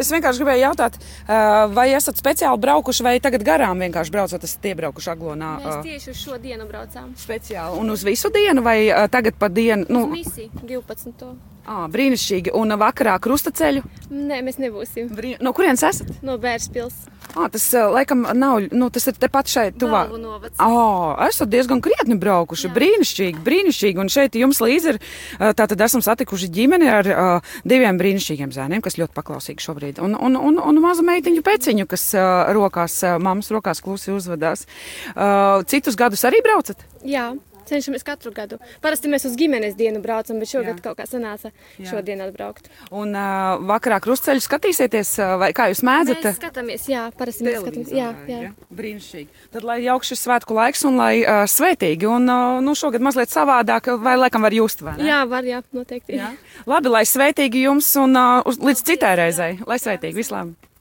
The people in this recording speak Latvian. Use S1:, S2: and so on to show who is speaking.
S1: Es vienkārši gribēju jautāt, ā, vai esat speciāli braukuši vai tagad garām vienkārši braucot, esat iebraukuši aglonā.
S2: Mēs
S1: ā,
S2: tieši uz šo dienu braucām.
S1: Speciāli un uz visu dienu, vai ā, tagad pa dienu? Nu,
S2: Visi 12.
S1: ā, brīnišķīgi. Un ā, vakarā krustaceļu.
S2: Nē, mēs nebūsim
S1: Brī... No kurienes esat?
S2: no Bērspils.
S1: Ā, tas ā, laikam nav, nu, tas ir tepat šeit, tuvāk.
S2: Balvu novads.
S1: Oh, esat diezgan krietni braukuši. Jā.
S2: Jā.
S1: Brīnišķīgi, brīnišķīgi. Un šeit jums līdzi ir. ā, Tātad esam satikuši ģimeni ar uh, diviem brīnišķīgiem zēniem, kas ļoti paklausīgi šobrīd. Un, un, un, un mazu meitiņu peciņu, kas uh, rokās, uh, mammas rokās klusi uzvedās. Uh, citus gadus arī braucat?
S2: Jā. Cenšamies katru gadu. Parasti mēs uz ģimenes dienu braucam, bet šogad
S1: Jā.
S2: Jā. kaut kā sanāca
S1: Jā.
S2: šodien atbraukt.
S1: Un uh, vakarā krustceļu skatīsieties, uh, vai kā jūs
S2: Mēs
S1: mēdzat?
S2: skatāmies, jā, parasti mēs skatāmies. Jā, jā.
S1: ja? Brīnišķīgi. Tad, lai jauks šis svētku laiks un lai uh, svētīgi, un uh, nu, šogad mazliet savādāk, vai laikam var just, vai ne?
S2: jā var, jā, noteikti.
S1: Jā. Labi, lai sveitīgi jums un uh, uz, līdz citai reizei. Lai sveitīgi vislabāk!